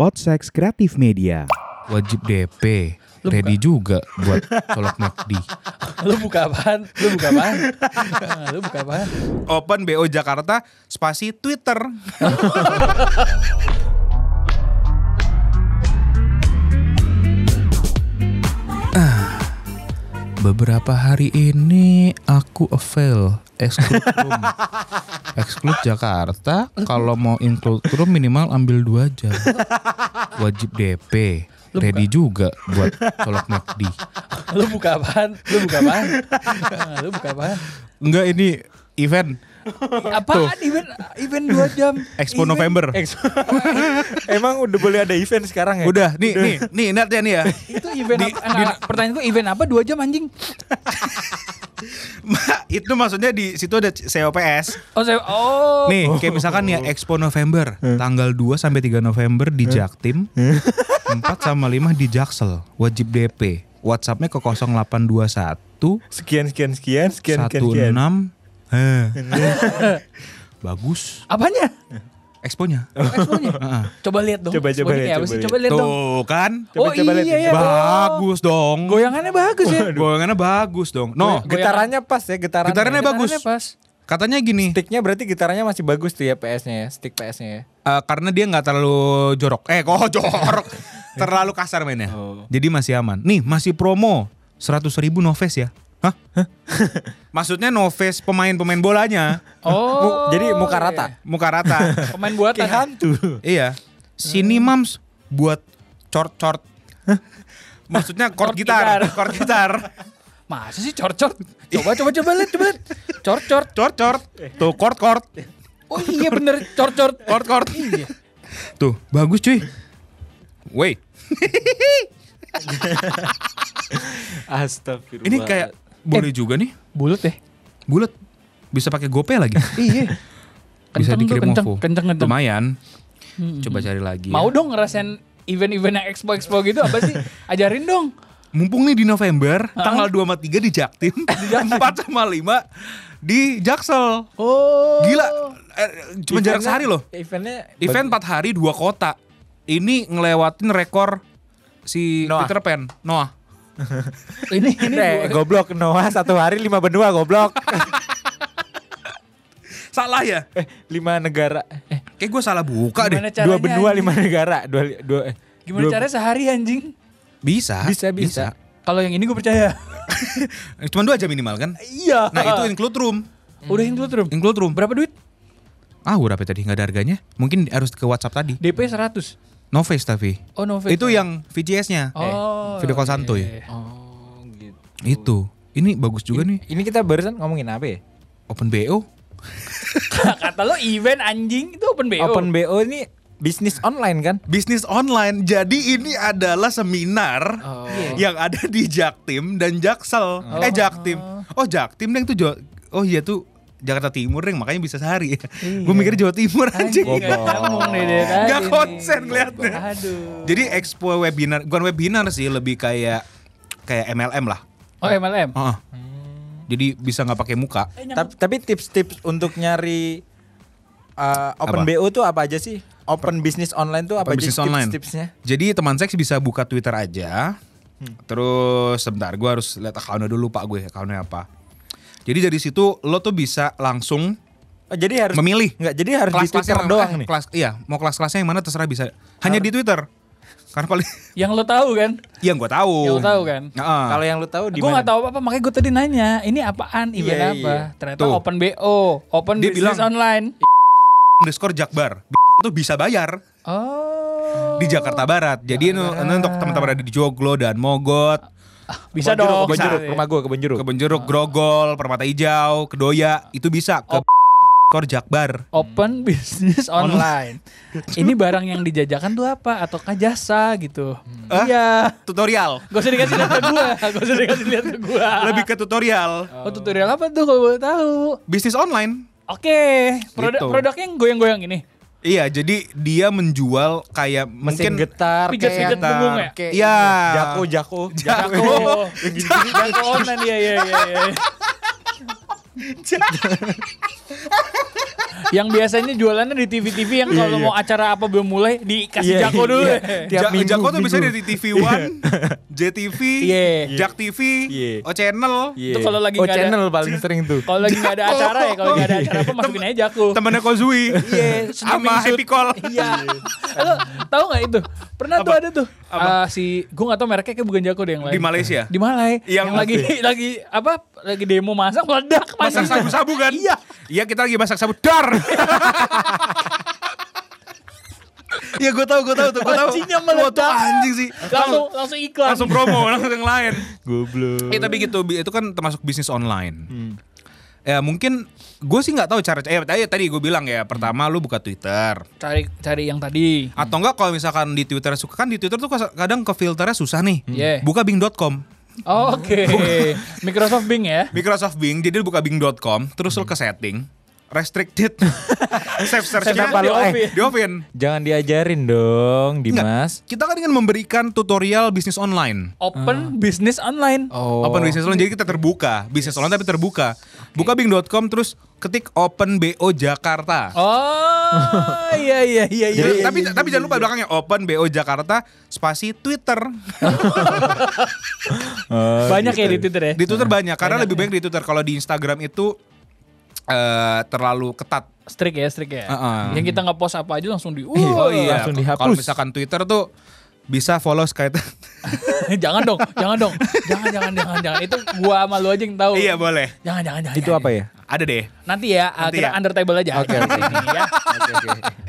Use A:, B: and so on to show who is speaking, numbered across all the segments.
A: Podseks Kreatif Media.
B: wajib DP ready juga buat colok McD
C: lu buka apaan? Lu buka apaan? Ah, lu buka apaan?
B: open BO Jakarta spasi Twitter Ah, Beberapa hari ini aku avail exclude room. Exclude Jakarta kalau mau include room minimal ambil 2 jam. Wajib DP. Ready juga buat colok McD.
C: Lu buka apaan? Lu buka apaan? Ah, lu buka apaan?
B: Enggak ini event
C: Apaan event event 2 jam?
B: Expo November.
D: Emang udah boleh ada event sekarang ya?
B: Udah, nih, nih, nih, lihat ya nih ya.
C: Itu event apa? Anak-anak, pertanyaan gue event apa 2 jam anjing?
B: Ma, itu maksudnya di situ ada COPS.
C: Oh, saya, oh. Eh.
B: Nih, kayak misalkan ya Expo November, tanggal 2 sampai 3 November di Jaktim. 4 sama 5 di Jaksel, wajib DP. WhatsAppnya ke 0821
D: Sekian sekian sekian sekian sekian sekian.
B: 16 Heh. Eh. Bagus
C: Apanya?
B: Exponya.
C: Eksponya? coba lihat dong.
D: Coba, coba
C: Eksponya
D: lihat,
C: kayak apa
D: coba
C: sih?
D: lihat.
C: Coba lihat
B: Ah.
C: dong.
B: Tuh kan.
C: Oh
D: coba lihat,
C: iya ya.
B: Bagus dong.
C: Goyangannya bagus ya.
B: Goyangannya bagus dong. No,
C: Goy-
D: Getarannya pas ya, getarannya.
B: Getarannya bagus.
C: pas.
B: katanya gini,
D: Sticknya berarti getarannya masih bagus tuh ya PS-nya ya, stick PS-nya ya.
B: Eh, karena dia nggak terlalu jorok. Eh kok jorok? terlalu kasar mainnya. Jadi masih aman. Nih masih promo 100.000 ribu noves ya. Hah? Maksudnya noves pemain-pemain bolanya.
D: Mu-
C: Oh.
D: jadi muka
C: iya.
D: rata.
B: Muka rata.
C: Pemain buatan.
D: Kayak hantu.
B: iya. Sini mams buat cort-cort. Maksudnya chord
C: Chord
B: gitar.
C: gitar.
B: Chord gitar.
C: Masa sih cor-cor? Coba coba coba lihat, coba lihat. Cor-cor.
B: Cort-cort. Tuh chord-chord.
C: Oh iya bener cor-cor. Iya.
B: Chord-chord. Tuh bagus cuy. Wait.
D: Astagfirullah.
B: Ini kayak boleh juga nih.
C: Bulat deh.
B: bulat bisa pakai GoPay lagi.
C: Iya.
B: bisa
C: Kenceng tuh,
B: dikirim
C: kenceng,
B: OVO.
C: kenceng, kenceng.
B: Lumayan. Coba cari lagi.
C: Mau
B: ya.
C: dong ngerasain event-event yang expo-expo gitu apa sih? Ajarin dong.
B: Mumpung nih di November, tanggal 2 sama 3 di Jaktim, 4 sama 5 di Jaksel.
C: Oh.
B: Gila, eh, cuma jarak sehari loh.
D: Eventnya
B: Event 4 hari, dua kota. Ini ngelewatin rekor si
D: Noah.
B: Peter Pan, Noah.
C: Ini ini
D: Eh, goblok Noah satu hari lima benua goblok.
B: Salah ya?
D: eh, lima negara. Eh,
B: Kayak gue salah buka
C: Gimana
B: deh.
C: caranya?
D: dua benua
C: anjing?
D: lima negara. Dua li- dua eh,
C: Gimana
D: dua-
C: caranya sehari anjing?
B: Bisa.
D: Bisa, bisa.
C: Kalau yang ini gue percaya.
B: Cuman dua aja minimal kan?
C: iya.
B: Nah itu include room.
C: udah include room.
B: Include room.
C: Berapa duit?
B: Ah berapa tadi? Gak ada harganya? Mungkin harus ke WhatsApp tadi.
C: DP 100.
B: No face tapi.
C: Oh, no face.
B: Itu yang VGS-nya.
C: Oh.
B: Video call santuy.
D: Oh, gitu.
B: Itu. Ini bagus juga nih.
D: Ini kita barusan ngomongin apa ya?
B: Open BO.
C: Kata lo event anjing itu open BO.
D: Open BO ini bisnis online kan?
B: Bisnis online. Jadi ini adalah seminar yang ada di Jaktim dan Jaksel. Eh Jaktim. Oh Jaktim yang tuh Jawa- Oh iya tuh Jakarta Timur yang makanya bisa sehari. Gue mikir Jawa Timur Iya. anjing.
C: Anjing, nggak nyambung deh dari tadi
B: Gak
C: nih.
B: konsen ngeliatnya.
C: Aduh.
B: Jadi expo webinar, bukan webinar sih, lebih kayak kayak MLM lah.
C: Oh MLM.
B: Heeh. Jadi bisa nggak pakai muka.
C: Eh,
D: Ta- tapi tips-tips untuk nyari uh,
B: Apa?
D: open BO tuh apa aja sih? Open bisnis online tuh apa
B: Open
D: aja
B: business online.
D: tips-tipsnya?
B: Jadi teman seks bisa buka Twitter aja.
D: Hmm.
B: Terus sebentar gue harus lihat akunnya dulu pak gue akunnya apa. Jadi dari situ lo tuh bisa langsung
D: Oh, jadi harus
B: memilih.
D: Enggak, jadi harus di
B: Kelas-kelasnya
D: Twitter
B: yang-
D: doang
B: eh,
D: nih.
B: Kelas, iya, mau kelas-kelasnya yang mana terserah bisa. Hanya di Twitter. Karena paling
C: Yang lo tahu kan?
B: yang gue tahu.
D: Iya,
C: Yang lo tahu kan?
B: Heeh.
D: Kalau yang lu tahu di
C: Gue
D: mana?
C: gak tahu apa-apa, makanya gue tadi nanya, ini apaan, event
D: Iya,
C: apa?
D: iya.
C: Ternyata
B: Tuh.
C: open BO, open
B: Dia
C: business
B: bilang-
C: online.
B: underscore Jakbar B- tuh bisa bayar
C: Oh.
B: di Jakarta Barat.
D: Iya,
B: Jadi nu- nu- untuk teman-teman ada di Joglo dan Mogot,
C: Bisa
D: Kebon
C: dong.
D: Jeruk, Kebon
C: bisa.
D: Jeruk, rumah gua Kebon Jeruk.
B: Kebon Iya. Jeruk, Grogol, Permata Hijau, Kedoya, itu bisa ke Skor Jakbar.
C: Open business online. ini barang yang dijajakan tuh apa? Ataukah jasa gitu? Iya.
B: Tutorial.
C: Gak usah dikasih lihat ke gue, gak usah dikasih lihat ke gue.
B: lebih ke tutorial
C: Oh tutorial apa tuh kalau boleh tahu?
B: bisnis online.
C: Oke, produk
B: Gitu.
C: produknya yang goyang-goyang ini.
B: Iya, jadi dia menjual kayak
D: Mesin
B: mungkin
D: getar,
C: Pijet-
D: kayak
C: pijet
D: getar,
C: punggung ya?
D: kayak
B: Iya.
D: ini. Jako, jako.
B: Ah. Jako.
C: Oh, jago Iya, online ya ya ya. yang biasanya jualannya di TV-TV yang kalau mau acara apa belum mulai dikasih
E: Iya,
C: jago dulu.
E: iya.
B: Ja-
C: ya.
A: Tiap minggu,
B: Jako tuh
A: minggu.
B: bisa dari TV One, JTV,
C: Iya.
B: Jak TV,
E: Iya.
B: O Channel.
C: Itu kalau lagi
E: oh
C: nggak ada-
E: channel paling sering tuh.
C: Kalau lagi nggak ada
B: Jago.
C: acara ya, kalau nggak ada acara apa masukin aja jago.
B: Temennya Kozui.
C: Iya,
B: Sama
C: streaming
B: Happy Call.
C: Iya. Lo tahu nggak itu? Pernah tuh ada tuh. eh, si gue nggak tahu mereknya kayak bukan Jako deh yang lain.
B: Di Malaysia.
C: Di Malai. Yang,
B: Yang-
C: lagi lagi apa? Lagi demo masak meledak.
B: Masak
C: panasnya.
B: sabu-sabu kan?
C: Iya.
B: Iya kita lagi masak sabu. Dar!
E: Iya gue tahu gue tahu tuh gue tahu.
C: Pancinya
B: Wah tuh
C: meledak.
B: anjing sih.
C: Langsung langsung iklan.
B: Langsung promo, langsung yang lain.
E: Goblok. Hmm.
B: Eh tapi gitu, bi- itu kan termasuk bisnis online. Ya mungkin gue sih nggak tahu cara. Eh tadi tadi gue bilang ya,
E: Hmm.
B: pertama lu buka Twitter.
C: cari cari yang tadi.
B: Atau enggak kalau misalkan di Twitter suka kan di Twitter tuh kas- kadang ke filternya susah nih.
C: Iya.
B: Buka bing.com.
C: Oke. Microsoft Bing ya.
B: Microsoft Bing, jadi lu buka bing.com, terus lu ke setting restricted save search-nya
E: Kenapa
B: di
E: lu, eh?
B: off- di offin.
E: Jangan diajarin dong, Dimas.
B: Kita kan ingin memberikan tutorial bisnis online.
C: Open business online.
E: Oh.
B: Open business online jadi kita terbuka, bisnis online tapi terbuka. Buka bing.com terus ketik open BO Jakarta.
C: Oh, iya iya iya iya.
B: Jadi- tapi tapi jangan lupa belakangnya open BO Jakarta spasi Twitter.
C: Banyak ya di Twitter ya.
B: Di Twitter banyak karena lebih banyak di Twitter. Kalau di Instagram itu eh, terlalu ketat.
C: Strik ya, strik ya.
B: Heeh.
C: Yang kita nggak post apa aja langsung di.
E: Oh, iya.
B: Langsung
E: Langsung
B: dihapus.
E: dihapus.
B: Kalau misalkan Twitter tuh bisa follow Skype.
C: jangan dong, jangan dong. Jangan jangan jangan jangan. Itu gua sama lu aja
E: Oh.
C: yang tahu.
B: iya boleh.
C: Jangan jangan jangan.
E: Itu apa ya?
B: Ada deh.
C: Nanti ya, uh,
B: Nanti
C: kita
B: ya.
C: under table aja.
E: Oke,
C: Jangan
E: oke.
C: sini ya.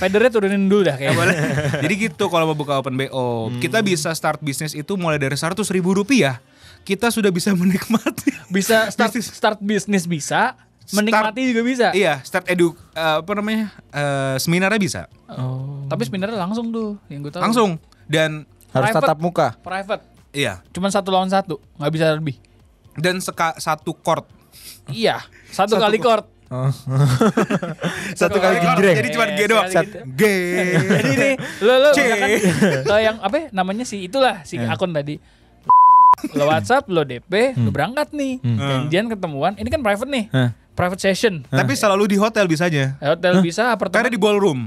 C: Federer turunin dulu dah kayaknya.
B: Boleh. Jadi gitu kalau mau buka open BO,
E: Hmm.
B: kita bisa start bisnis itu mulai dari 100 ribu rupiah. Kita sudah bisa menikmati.
C: Bisa start
B: Bisnis.
C: start bisnis bisa, menikmati juga bisa.
B: iya, start edu eh, apa namanya? eh, seminarnya bisa.
C: Oh. Tapi sebenarnya langsung tuh yang gua tahu.
B: Langsung dan
E: Harus
C: Private.
E: tatap muka.
C: private.
B: iya.
C: Cuman satu lawan satu, nggak bisa lebih.
B: Dan seka, satu court.
C: Iya, satu, kali court.
E: Oh. Satu kali
B: court,
E: genjreng.
B: Jadi cuma
C: Iya,
B: G doang.
C: sekali gitu.
B: G.
C: Jadi nih, lo lo
B: C.
C: misalkan ke yang apa ya, namanya si itulah si akun tadi. Lo WhatsApp, lo DP, lo berangkat nih.
B: Hmm.
C: Janjian ketemuan. Ini kan private nih.
E: Hah.
C: Private session. Eh,
B: Tapi selalu di hotel bisanya.
C: Hotel
B: Karena
C: bisa, apartemen.
B: di ballroom.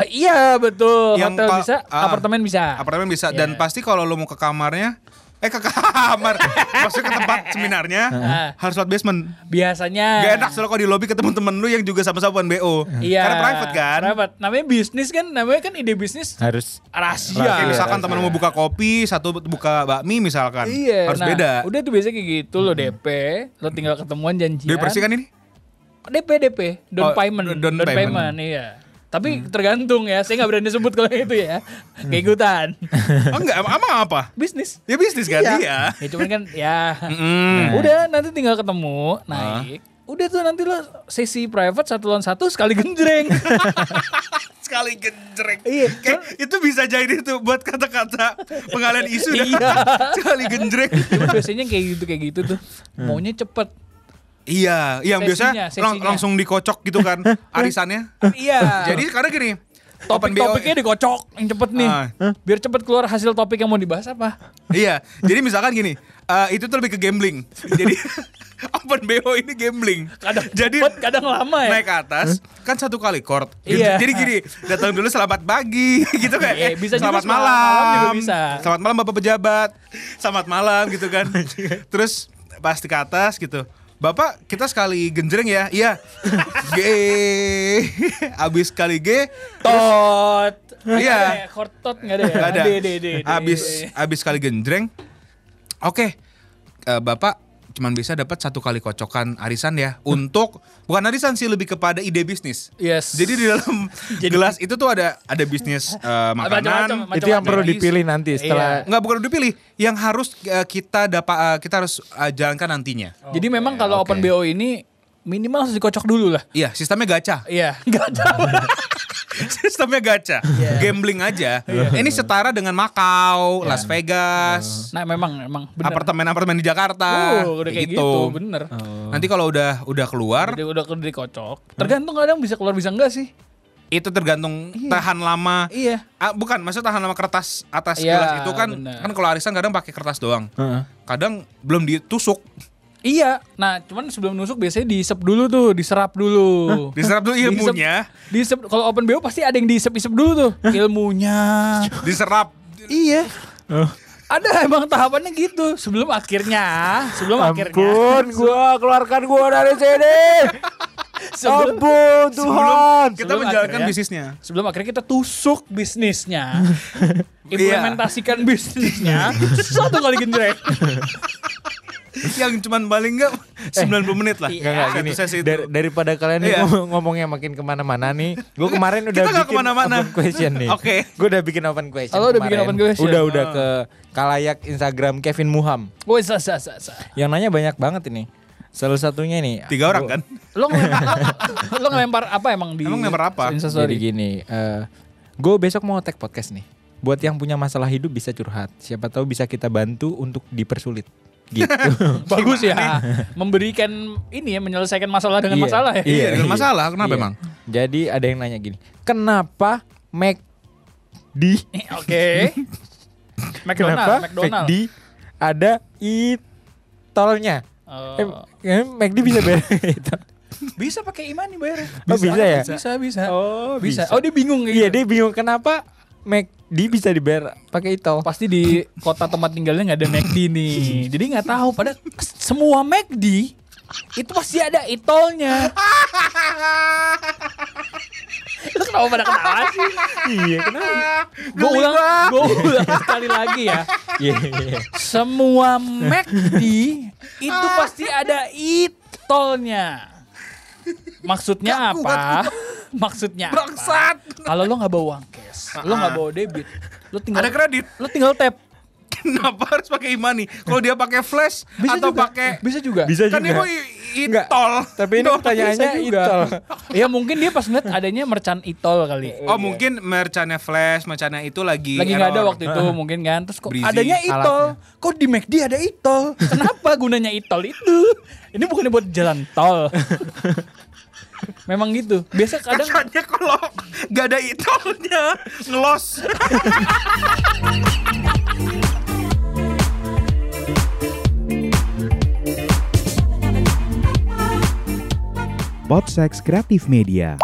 C: Eh, iya, betul.
B: Yang
C: Hotel
B: pa-
C: bisa,
B: ah.
C: apartemen bisa.
B: apartemen bisa dan
C: Iya.
B: pasti kalau lo mau ke kamarnya eh ke kamar maksudnya ke tempat seminarnya
C: Heeh.
B: harus lewat basement
C: Biasanya.
B: gak enak soalnya kalau di lobby ketemu temen lu yang juga sama-sama bukan BO
C: Eh. Iya.
B: karena private kan
C: Private. Namanya bisnis kan, namanya kan ide bisnis
E: Harus.
C: rahasia.
B: Kayak misalkan temen lu mau buka kopi satu buka bakmi misalkan
C: Iya,
B: harus
C: nah,
B: beda
C: Udah tuh biasanya kayak gitu lo DP, lo tinggal ketemuan janjian.
B: Dewi Persik kan ini
C: DP DP,
B: Oh,
C: down payment,
B: down payment. Hmm.
C: iya. Tapi tergantung ya, saya nggak berani sebut kalau itu ya. Keikutan.
B: oh, enggak em- emang apa
C: Bisnis.
B: ya bisnis kan
C: Iya.
B: iya
C: Ya cuman kan ya.
B: Mm.
C: Udah nanti tinggal ketemu, naik.
B: Ah.
C: Udah tuh nanti lo sesi private satu lawan satu sekali genjreng.
B: sekali genjreng
C: Iya.
B: Kayak itu bisa jadi itu buat kata-kata pengalian isu dah.
C: Iya.
B: sekali genjreng
C: Cuman biasanya kayak gitu kayak gitu tuh.
B: Hmm.
C: Maunya cepet.
B: iya iya
C: Sesinya,
B: biasanya lang-
C: sesinya.
B: langsung dikocok gitu kan arisannya
C: iya.
B: Jadi karena gini, open BO
C: topik-topiknya dikocok yang cepet nih.
B: Ah.
C: Biar cepet keluar hasil topik yang mau dibahas apa.
B: Iya, jadi misalkan gini, eh, itu tuh lebih ke gambling. Jadi open BO ini gambling.
C: Kadang
B: jadi
C: cepet, kadang lama ya.
B: naik ke atas kan satu kali court.
C: Iya.
B: Jadi gini, datang dulu selamat pagi gitu kan.
C: Iya, bisa juga
B: selamat
C: semalam,
B: malam.
C: malam juga bisa.
B: Selamat malam Bapak pejabat. Selamat malam gitu kan. Terus pasti ke atas gitu. Bapak, kita sekali genjreng ya. Iya. G. Abis kali G,
C: Tot.
B: Iya.
C: Kortot nggak ada ya?
B: Gak ada.
C: De, de, de, de.
B: Abis abis kali genjreng. Oke. Eh, Bapak cuman bisa dapat satu kali kocokan arisan ya untuk bukan arisan sih lebih kepada ide bisnis.
C: Hmm. Yes.
B: Jadi di dalam gelas itu tuh ada ada bisnis eh, makanan.
C: Macam-macam.
E: Itu yang perlu
B: Macam-macam.
E: dipilih nanti setelah
B: Nggak bukan udah pilih yang harus eh, kita dapat eh, kita harus eh, jalankan nantinya.
C: Jadi memang kalau open BO ini minimal harus dikocok dulu lah.
B: Iya, sistemnya gacha.
C: Iya. Gak tahu.
B: sistemnya gacha. Gambling aja. Ini setara dengan Makau, Las Vegas.
C: Nah memang memang
B: Ah,
C: bener.
B: apartemen-apartemen di Jakarta.
C: Oh, udah kayak gitu,
B: Bener.
C: bener.
B: Nanti kalau udah udah keluar
C: Udah, udah udah dikocok.
B: Hmm.
C: Tergantung kadang bisa keluar bisa enggak sih?
B: itu tergantung tahan lama.
C: Iya.
B: Ah, bukan, maksud tahan lama kertas atas
C: Iya,
B: gelas itu kan
C: benar.
B: kan kalau arisan kadang pakai kertas doang.
E: Heeh.
B: Kadang belum ditusuk.
C: Iya, nah cuman sebelum nusuk biasanya diisep dulu tuh, diserap dulu.
B: Diserap dulu
C: Diisep-
B: ilmunya.
C: Diisep, kalau open BO pasti ada yang diisep-isep dulu tuh ilmunya.
B: Diserap.
C: iya. Ada emang tahapannya gitu sebelum akhirnya, sebelum akhirnya.
D: gua keluarkan gua dari sini.
C: Sebelum,
D: Ampun
B: Sebelum kita
C: Sebelum
B: menjalankan
C: akhirnya.
B: bisnisnya.
C: sebelum akhirnya kita tusuk bisnisnya. implementasikan bisnisnya satu kali genjreng.
B: Yang cuman paling enggak 90 menit lah.
D: Nggak,
C: Iya.
D: nggak,
B: Satu
D: Eh. gini.
B: sesi itu.
D: Dar- daripada kalian nih
B: Iya.
D: ngomong- ngomongnya makin kemana-mana nih, gue kemarin udah
B: nggak
D: bikin
B: kemana-mana.
D: open question nih.
B: Oke. Ah.
D: Gue udah bikin open question.
C: Oh, udah bikin
D: kemarin.
C: open question.
D: Udah udah ke kalayak Instagram Kevin Muham.
C: Woi, sa sa sa sa.
D: Yang nanya banyak banget ini. Salah satunya nih.
B: Tiga orang
D: aku-
B: kan?
C: Lo ngelempar, lo, lo ngelempar apa emang di
B: Emang ngelempar apa?
D: Jadi gitu.
C: Instastory?
D: gini, gue besok mau tag podcast nih. Buat yang punya masalah hidup bisa curhat. Siapa tahu bisa kita bantu untuk dipersulit. Gitu.
C: Bagus ya. Memberikan ini ya menyelesaikan masalah dengan
D: Iya,
C: masalah ya.
D: Iya,
B: Iya, dengan
D: iya.
B: masalah. Kenapa
D: Iya.
B: emang?
D: Jadi ada yang nanya gini, kenapa Mac di
C: Oke. McDonald,
D: kenapa
C: McDonald.
D: McD ada itolnya?
C: Oh.
D: Eh, eh, McD bisa bayar itu.
C: bisa pakai imani bayar.
D: Oh, bisa ya?
C: Bisa, bisa.
D: Oh,
C: bisa. Oh, dia bingung kayak
D: Iya,
C: gitu.
D: dia bingung kenapa McD bisa dibayar pakai itol.
C: Pasti di kota tempat tinggalnya nggak ada McD nih. Jadi nggak tahu pada semua McD itu pasti ada itolnya. Lu kenapa pada ketawa sih?
D: iya, kenapa?
C: Gue ulang, gue ulang sekali lagi ya.
D: Iya, iya.
C: Semua McD itu pasti ada itolnya. Maksudnya apa? Maksudnya apa? Kalau lo nggak bawa uang cash, lo nggak bawa debit, lo tinggal
B: Ada kredit.
C: lo tinggal tap.
B: Kenapa harus pakai imani? Kalau dia pakai flash
C: Bisa
B: atau
C: juga.
B: pakai
C: Bisa juga.
D: Bisa
B: kan
D: juga.
B: itu
D: Enggak.
B: itol.
D: Tapi ini pertanyaannya
C: Bisa juga.
D: itol.
C: ya mungkin dia pas ngeliat adanya merchant itol kali.
B: Oh mungkin merchannya flash, merchannya itu lagi
C: Iya. Lagi nggak ada
B: error.
C: waktu itu mungkin kan. Terus kok
B: Iya, Breezy
C: adanya itol. Kok di McD ada itol? Kenapa gunanya itol itu? Ini bukannya buat jalan tol. Memang gitu. Biasa kadang
B: Kesannya kalau nggak ada itolnya ngelos.
A: Podsex Kreatif Media.